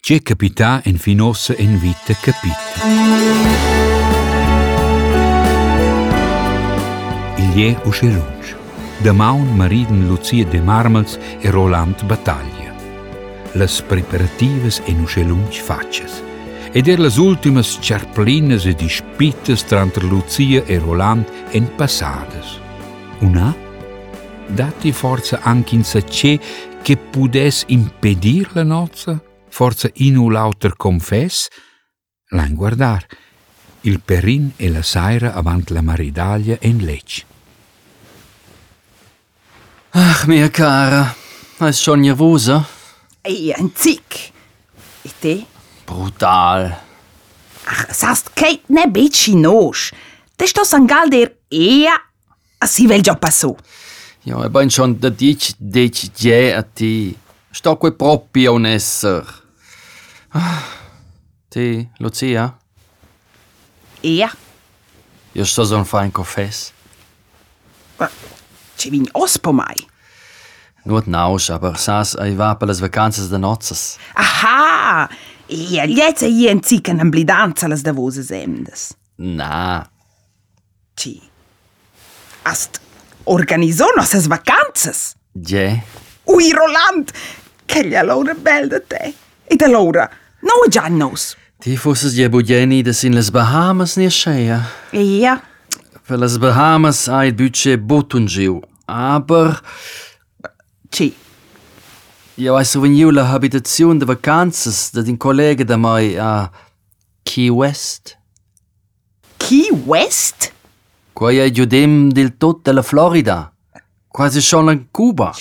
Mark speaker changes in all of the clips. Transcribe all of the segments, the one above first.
Speaker 1: C'è capità en finos en vite capita. Il je u Schelunsch, da maun mariden Lucia de Marmels e Roland Battaglia. Las preparativas en u Schelunsch facias. Ed er las ultimas charplinas e dispitas tranter Lucia e Roland en passadas. Una? Dati forza anche in sacce che pudess impedir la nozza? forza inu lauter confess, lain guardar. Il perin e la saira avant la maridaglia en lec.
Speaker 2: Ach, mia cara, ist schon eh? nervosa?
Speaker 3: Ei, ein Zick. E te?
Speaker 2: Brutal.
Speaker 3: Ach, sast Kate ne bitchi nosch. Te sto sangal der ea, a si vel già passò.
Speaker 2: Ja, e ben schon da dich, dich, je a ti. Sto qui proprio un esser. oh, Ah. Ti, Lucia,
Speaker 3: Ea,
Speaker 2: io sto son fa in confess.
Speaker 3: ma ci vin ospo mai.
Speaker 2: Nuot naus, aber sas ai va per las vacanzas de nozzas.
Speaker 3: Aha! Ea, lietze i ein Zick an amblidanza las davose semdes.
Speaker 2: Na,
Speaker 3: Ci. Ast organizò nossas vacanzas.
Speaker 2: je.
Speaker 3: Ui, Roland, che gli allora bel da te. Ed allora, no già nos.
Speaker 2: Ti fosses je budjeni des in las Bahamas ne schea.
Speaker 3: Ea,
Speaker 2: Per las Bahamas ai il budget botun giu. Aber
Speaker 3: ci.
Speaker 2: io ai soveniu la habitazione de vacanzas de din collega da mai a Key West.
Speaker 3: Key West?
Speaker 2: Quai è giudem del tot della Florida, quasi schon in Cuba.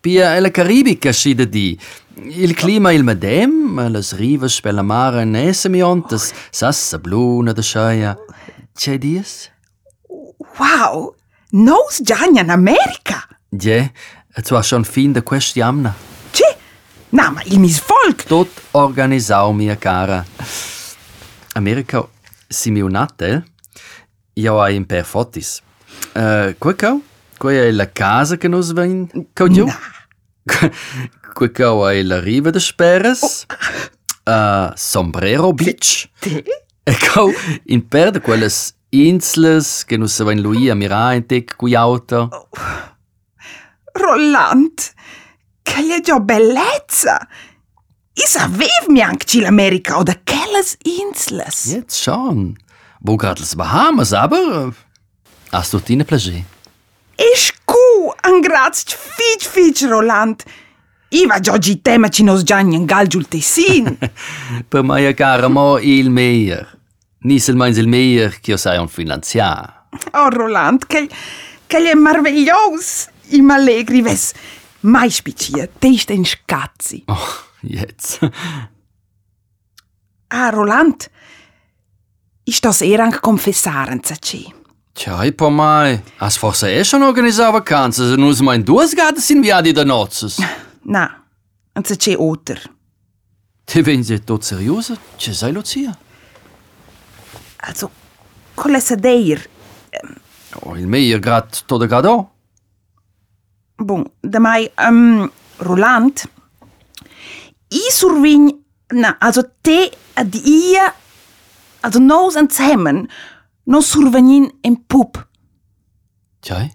Speaker 2: Pia è la Caribica scida di. Il clima è il medem, ma le rives per la mare in essemiontes, sassa bluna de sciaia. C'è dies?
Speaker 3: Wow, nos giagna in America.
Speaker 2: Je, e tu schon fin de questi amna.
Speaker 3: C'è? No, ma il misfolk.
Speaker 2: Tot organizau mia cara. America si mi unate, io hai in per fotis. Uh, quae cau? Quae è la casa che nos vein? Cau giù?
Speaker 3: Na,
Speaker 2: Qui cau ei la riva de Sperres, a Sombrero Beach,
Speaker 3: Oh. te?
Speaker 2: e cau in per de quelles insles che nu se vain lui a mirar in tec cui auto.
Speaker 3: Oh. Roland, che gli è già bellezza. I savevmi anche ci l'America o da quelles insles.
Speaker 2: Jetzt schon. Wo grad les Bahamas, aber... eh, Hast du tine plagie?
Speaker 3: Ich cu, angrazch, fitch, fitch, Roland. Iva già gi tema ci nos giagna in gal giul Tessin.
Speaker 2: Per mai a cara mo il meier. Nis il meins il meier che io sai un finanziar.
Speaker 3: oh, Roland, che, che gli è meraviglios. I m'allegri ves. Mai spicia, te sta in scazzi.
Speaker 2: Oh, jetzt.
Speaker 3: Ah, Roland, ich das eher an Konfessaren zu tun.
Speaker 2: Tja, po mai. As forse eh schon organizau vacanzas e nus mein duas gadas in viadi da nozzes.
Speaker 3: Na, an zu tun oder.
Speaker 2: Ti venzi tot seriosa? Ce sai, Lucia?
Speaker 3: Also, kolle se deir.
Speaker 2: Oh, il meier grad tot de gado.
Speaker 3: Bon, da mai, ähm, Roland, i survin, na, also te ad ia, also nos an zemmen, nos survenin en pup.
Speaker 2: Tjai?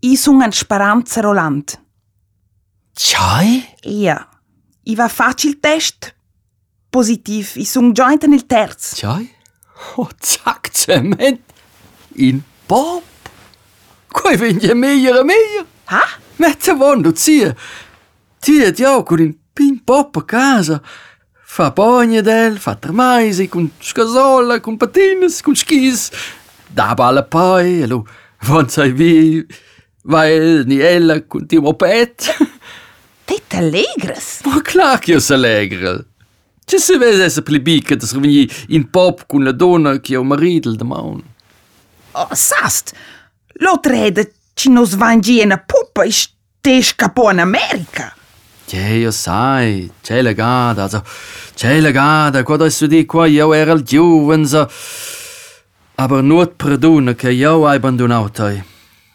Speaker 3: I sung an Speranza Roland.
Speaker 2: Tjai?
Speaker 3: Ia, i va facil test. Positiv, i sung joint nel terz.
Speaker 2: Tjai? Oh, zack, cement. In Bob. Quai venzi meier e meier.
Speaker 3: Ha?
Speaker 2: Mezza von, Lucia. Ti e ti con il pin pop a casa. Fa bogne del, fa tramaisi, con scasola, con patines, con schis. Da balla poi, e lo von sai vi. Vai el, ni ella, con ti mopet.
Speaker 3: Te t'allegres?
Speaker 2: Ma clar che io s'allegre. Ci si vede essere più bicca di srovigni in pop con la donna che ho marito da maun.
Speaker 3: Oh, sast! L'otrede ci nos vangi una pupa e te scapò in America.
Speaker 2: Che io sai, c'è la gada, so, c'è la gada, quando io di qua io ero il giovane, so. Aber nur perdona che io hai abbandonato eh. te.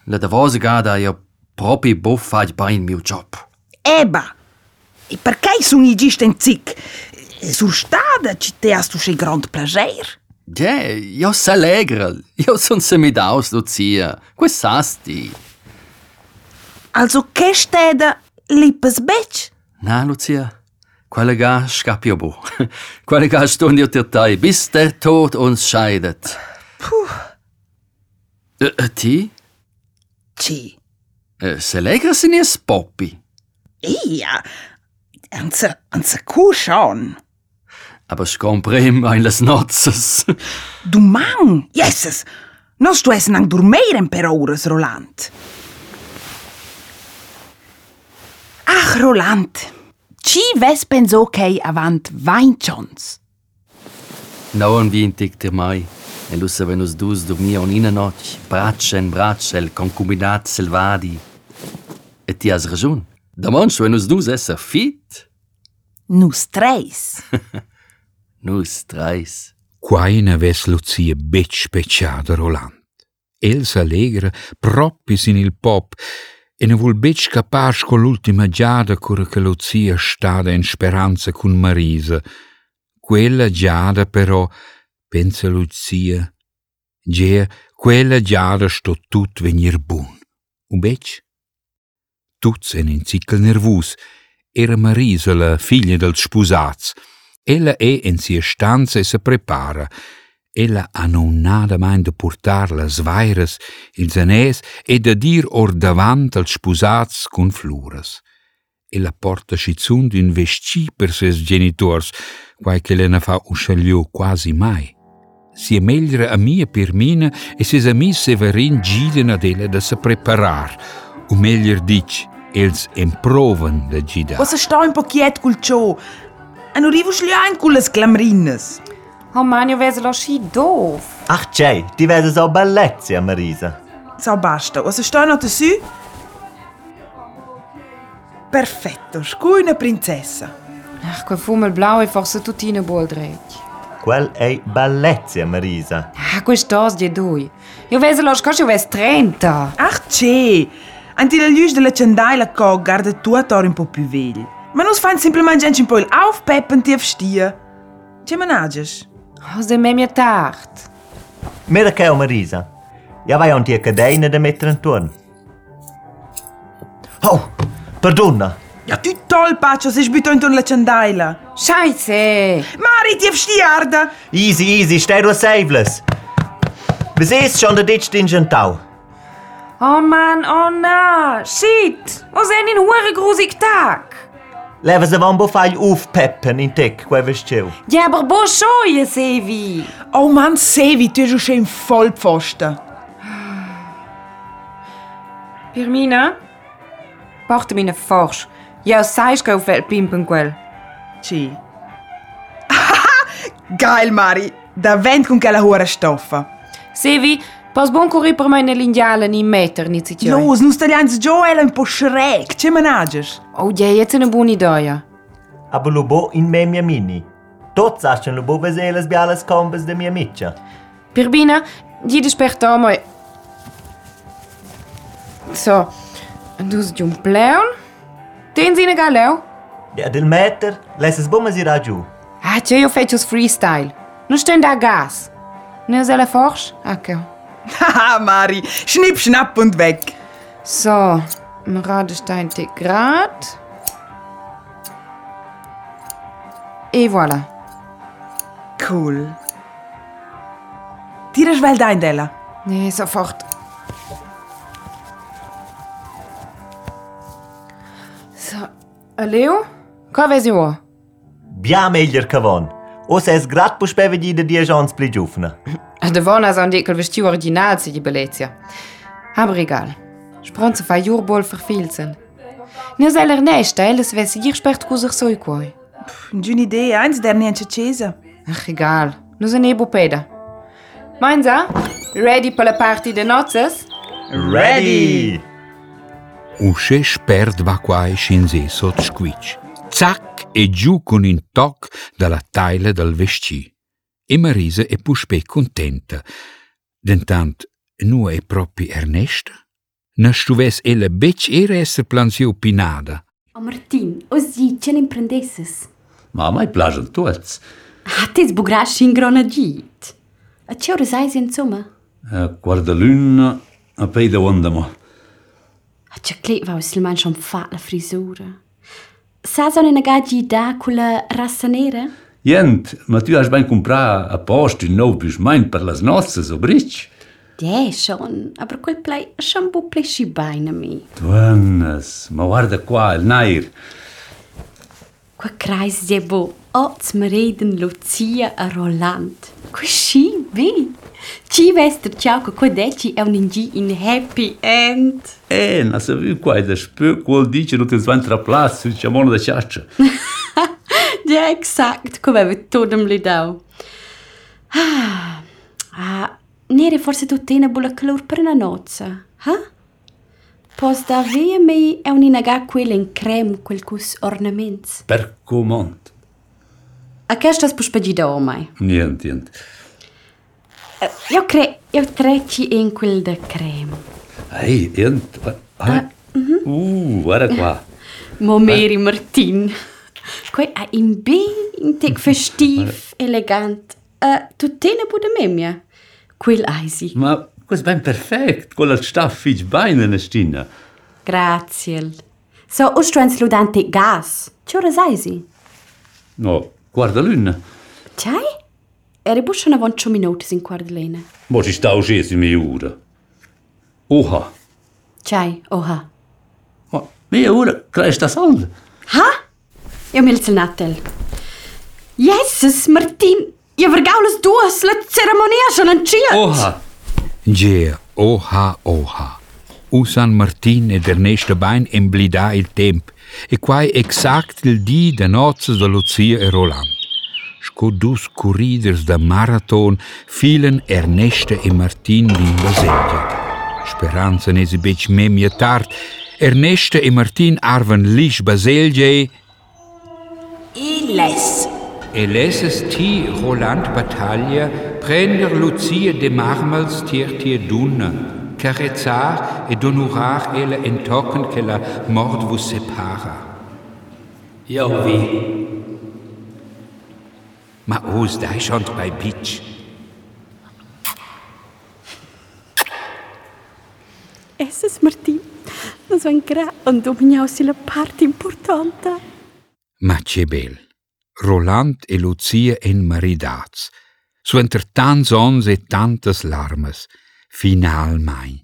Speaker 2: La davosa gada io proprio buffaj bain mio job.
Speaker 3: Eba! E perquei sonigiste em zic? Sur stada ci te hast du sche grand plager?
Speaker 2: Ja, io s'allegra. Io son semidaus, Lucia. Quest sasti.
Speaker 3: Also che steda lippes bec?
Speaker 2: Na, Lucia, quella ga scappi io bu. Quella ga stund io dir tai, bis der Tod uns scheidet. Puh. Äh, äh, ti?
Speaker 3: Ci.
Speaker 2: Äh, s'allegra sin ies Poppi.
Speaker 3: Ia. Anza, anza cu schon.
Speaker 2: Aber scomprem ein les notzes.
Speaker 3: Du man, jesses. Nos tu essen ang durmeren per ores, Roland. Ach, Ah, Roland. Ci ves penso che avant vainchons.
Speaker 2: Nauan vintig dir mai. E lussa venus dus dormia on ina noc, braccia in braccia, il concubinat selvadi. E ti has ragion. Damons venus dus esser fit.
Speaker 3: Nus treis.
Speaker 2: Nus treis.
Speaker 1: Quai ne ves Lucia bec speciada Roland. El s'allegra proppis in il pop e ne vuol bec capar con l'ultima giada cura che Lucia stada in speranza con Marisa. Quella giada però, pensa Lucia, gea, quella giada sto tut venir bun. Un bec? Tuts en in cicl nervus, era Marisa la figlia del spusaz, Ella è in sia stanza e se prepara. Ella ha non nada mai da portar las vaires, il zanès e da dir or davant als spusats con fluras. Ella porta schizzund un vestì per ses genitors, quai che le ne fa usciaglio quasi mai. Si è meglio a mia Pirmina e ses amis Severin giden ad ella da se preparar. O meglio dic, els improven da gidar.
Speaker 3: Was sta un pochiet cul ciò? E non rivo schli ein culles clamrines.
Speaker 4: Oh Mann, ihr wärt doch schi doof.
Speaker 5: Ach Ah, c'è, ti vedo so bellezza, Marisa.
Speaker 3: So basta, was sta no te sü? Perfetto, scu una princessa.
Speaker 4: Ach, quel fummel blau è forse tutti in bol dretg.
Speaker 5: Quel è bellezza, Marisa.
Speaker 4: Ah, questo di dui. Io vedo lo scorso, io vedo 30.
Speaker 3: Ach c'è! Ah, Anti la luce della cendaila co guarda tu a tor un po' più vegli. Ma non sfan semplicemente gente un po' il aufpeppen ti avstia. C'è manages.
Speaker 4: Oh, se me mia tard.
Speaker 5: Mira che è Marisa. Ja vai onti a cadena da mettere intorno. Oh, perdona.
Speaker 3: Ja tu tol paccio se sbito intorno la cendaila.
Speaker 4: Scheiße.
Speaker 3: Mari ti avstiarda!
Speaker 5: Easy, easy, stai due savles. Wir sehst schon der Ditch den Gentau.
Speaker 4: Oh Mann, oh na. Shit. Was ein in hure grusig Tag.
Speaker 5: Leva se von bofagli aufpeppen in tec, quel vestiu.
Speaker 4: Ja, aber bo schoie, Sevi.
Speaker 3: Oh man, Sevi, tu ist schon Vollpfosten.
Speaker 4: Pirmina? Porta mina forsch. Ja, sais che ho fel pimpen quel.
Speaker 3: Sì. Geil, Mari! Da vent con quella hora stoffa.
Speaker 4: Sevi, pas bon corri per me ne lindiale ni meter ni zitjoi.
Speaker 3: Los, non staglianz giù, ella è un po' shrek, c'è manages.
Speaker 4: Oh, ja, jetzt eine buona idea.
Speaker 5: Aber lo bo in me mia mini. Tots aschen lo bo veseles bialas combes de mia miccia.
Speaker 4: Pirbina, gli desperta moi. So, dus di un pleon. Tens in galeu?
Speaker 5: Ja, del metter, lesses bo mas irà giù.
Speaker 4: Ah, c'è io faccio freestyle. Non sto da gas. Ne se la forsch? Ecco.
Speaker 3: Haha, Ah, Mari, schnipp, schnapp und weg.
Speaker 4: So, ein Radestein Grad. Et voilà.
Speaker 3: Cool. Tira schwell dein, Della.
Speaker 4: Nee, sofort. So, Leo? Qua vesi uo?
Speaker 5: Bia meglier cavon. O se es grad puspeve di de die gens pli giufna.
Speaker 4: Devona sa un dekel vesti original si di Belezia. Aber egal. Spronze fa jurbol verfilzen. Ne sei er nesta, eles vesi gir spert kuser soi quoi.
Speaker 3: Giù un'idea, eins der niente cesa.
Speaker 4: Ach, egal. Nu se nebo peda. Mainza? ah? Ready per la party de nozes?
Speaker 5: Ready!
Speaker 1: Usce sperd va qua e scinze sotto squic. Zac e giù con un toc dalla taila del vestì. E Marisa è puspe contenta. Dentant, nu è proprio Ernesta? Nastuves ella bec era esser planzio pinada.
Speaker 6: O Martin, hoje ce ne prendesses?
Speaker 7: Ma mai plagen tuets.
Speaker 6: Ah, te zbugraši in gronadit. A ce ore sai insomma?
Speaker 7: A Eh, quarta luna, a pei da ondamo.
Speaker 6: A ce cleva o sil man schon fa la frisura. Sa son in agagi da culla rassa nera?
Speaker 7: Jent, ma tu has ben comprar a post un nou buschmein per las nozze, so bric?
Speaker 6: Die schon, aber quel plei schon bu plei si bain a mi.
Speaker 7: Tuannes, ma guarda qua, il nair.
Speaker 6: Qua kreis je bo, oz mereden Lucia a Roland. Qua si vi. Ci vester ciao che qua deci è un ingi in happy end.
Speaker 7: Eh, na se vi qua, da spö, quel dice, non ti svan traplas, sul ciamone da ciaccia.
Speaker 6: Ja, exakt come vi todem li dau. Ah, ah, nere forse tu tena bulla calor per una nozza, ha? Pos da via mi è un inaga quel in crem quel cus ornaments.
Speaker 7: Per comont.
Speaker 6: A che stas puspegi da omai?
Speaker 7: Jent, jent.
Speaker 6: Io cre, io trecci in quel da crem.
Speaker 7: Ei, jent. Ah, uh, guarda qua.
Speaker 6: Mo meri Martin. Quei a in be in tec festiv, elegant. Uh, tu tena buda memia. Quel aisi.
Speaker 7: Ma questo è ben perfetto, con la staffig bene nella stina.
Speaker 6: Grazie. So, ustruens ludante gas. Ciò resaisi.
Speaker 7: No, guarda l'una.
Speaker 6: C'hai? Er Eri buscia una voncia minuti in quardlena.
Speaker 7: Mo ci sta uscendo mia ora. Oha,
Speaker 6: C'hai, oha.
Speaker 7: ma mia ora, crei sta salda.
Speaker 6: Ha? Io mi il natel. Jesus, Martin! Io vergaules duas, la ceremonia schon an cia!
Speaker 7: Oha,
Speaker 1: Gea, oha, oha. U San Martin e der nächste Bein em blida il temp. E quai exact il di de nozze de Lucia e Roland. Sco dus corriders da marathon fielen Erneste e Martin din basegia. Speranza ne si bec memia tard. Erneste e Martin arven lich baselgia
Speaker 3: Iles.
Speaker 1: e lesses ti Roland Battaglia prender Lucia de Marmals tier tier dunna, carezzar e donurar ele entocken che la mord vous separa.
Speaker 7: io vi.
Speaker 1: Ma os dai schont bei Bitch.
Speaker 6: Jesus, Martin! Non so in gra, und du mi ausi la parte importante.
Speaker 1: Ma c'è bel. Roland e Lucia en maridats. Su enter tants ons e tantes larmes. Final mai.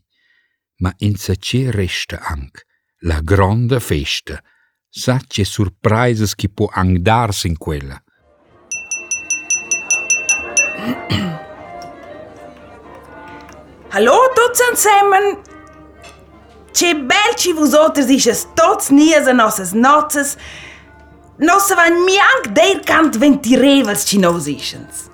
Speaker 1: Ma in sace resta anc. La grande festa. Sace surprises che può anc darsi in quella.
Speaker 3: Hallo tutti insieme. C'è bel ci vous alters isches tots nies a nossas nozzes. Nossa van mianc deir cant ventirevels ci nos ischens.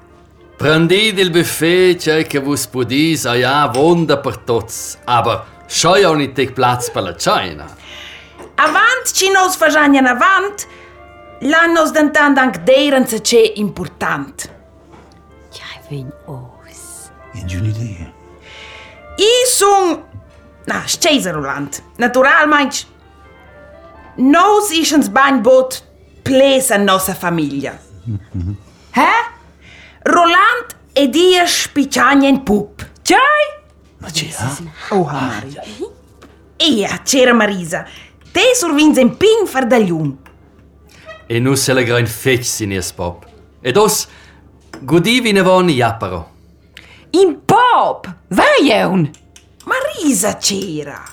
Speaker 2: Prendete il buffet, c'è che voi podis, ah ja, wonder per tots. Aber schau ja nicht den Platz per la China.
Speaker 3: Avant ci nos fagianian avant. La nos dentant anc deir an se c'è important.
Speaker 6: C'hai vegn os.
Speaker 7: E giù un'idea.
Speaker 3: I sun... Na, scesa Roland. Natural, meinsch. Nos ischens bagn bot ples a nossa famiglia. Hä? Roland ed ihr spicciagna in pup. C'hai?
Speaker 7: Ma c'è, ah?
Speaker 3: Ia, c'era Marisa. Te survins in pin fardagliun.
Speaker 2: E nu se la gran fech sin ihr Bob. Ed os, gudi vi E ne von jappero.
Speaker 8: In Bob! Vajon!
Speaker 3: Marisa c'era.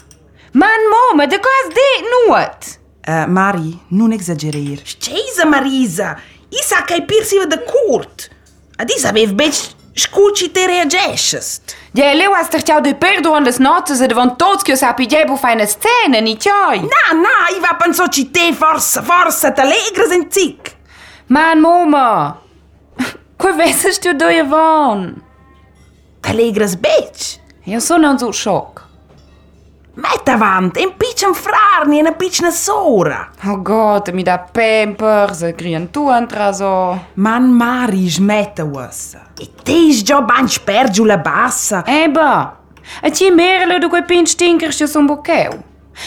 Speaker 8: Man mama, de kas dit nuot!
Speaker 9: Uh, Mari, non exagerer.
Speaker 3: Scesa Marisa. I sa che pirsi da curt. Ad i sapev bec scuci te reagest.
Speaker 8: Je leu as ter tjau de perdo an des notes e devant tots kjus api je bu feine scene, ni tjoj!
Speaker 9: Da,
Speaker 3: Na, na, i va penso ci te forza, forza, t'allegres in zic.
Speaker 8: Man mama! Kue vesses tu do je van?
Speaker 3: T'allegres bec.
Speaker 8: Jo sono un zu schock.
Speaker 3: Met avant, in piccian frarni, in a piccina sora.
Speaker 8: Oh god, mi da pampers, e grien tu
Speaker 4: oh.
Speaker 8: antraso.
Speaker 9: Man Mari, smetta was.
Speaker 3: E te is già bagn spergiu la bassa.
Speaker 8: Eba! E ci merle du quei pin stinkers kjus un bukeu.
Speaker 4: um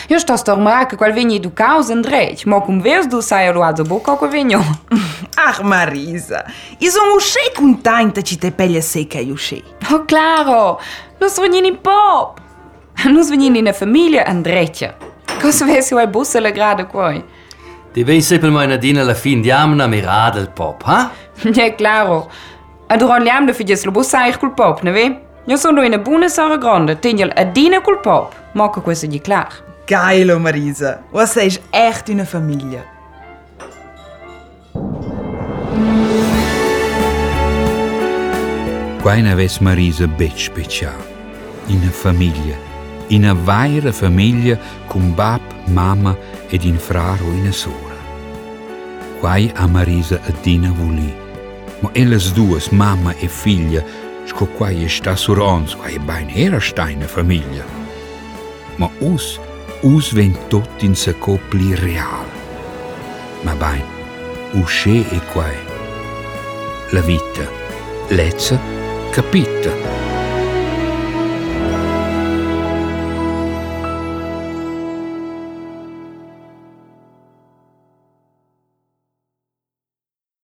Speaker 4: Eu estou a stormar que qual vinha do caos Andrej, mas como vês do saia luado boca que vinha.
Speaker 3: Ah, Marisa, io sono uscì contenta ci te pelle secca io uscì.
Speaker 4: Oh, claro! Nós vinha em pop! Nós vinha na família Andrej. Ko se é vesi v busse le grade koj.
Speaker 2: Die vei sempre mai Nadine alla fin di amna mirada il pop, eh? ha?
Speaker 4: Ja, claro. A duron liam de fidjes le busse air kul pop, ne ve? Jo sono in a bune sara grande, tinjel a dine kul pop. Mokko kwese di klaar.
Speaker 3: Geilo, Marisa, você é echt una famiglia.
Speaker 1: Quai n'avess Marisa bet special. In famiglia. In vaira famiglia con bab, mamma ed in fraro in sora. Quai a Marisa a Dina voli. Ma elles duas, mamma e figlia, sco quai e sta sur ons, quai e bain era sta in famiglia. Ma us, us ven tot in se copli real. Ma bain, usce e quai. La vita, lezza, capita.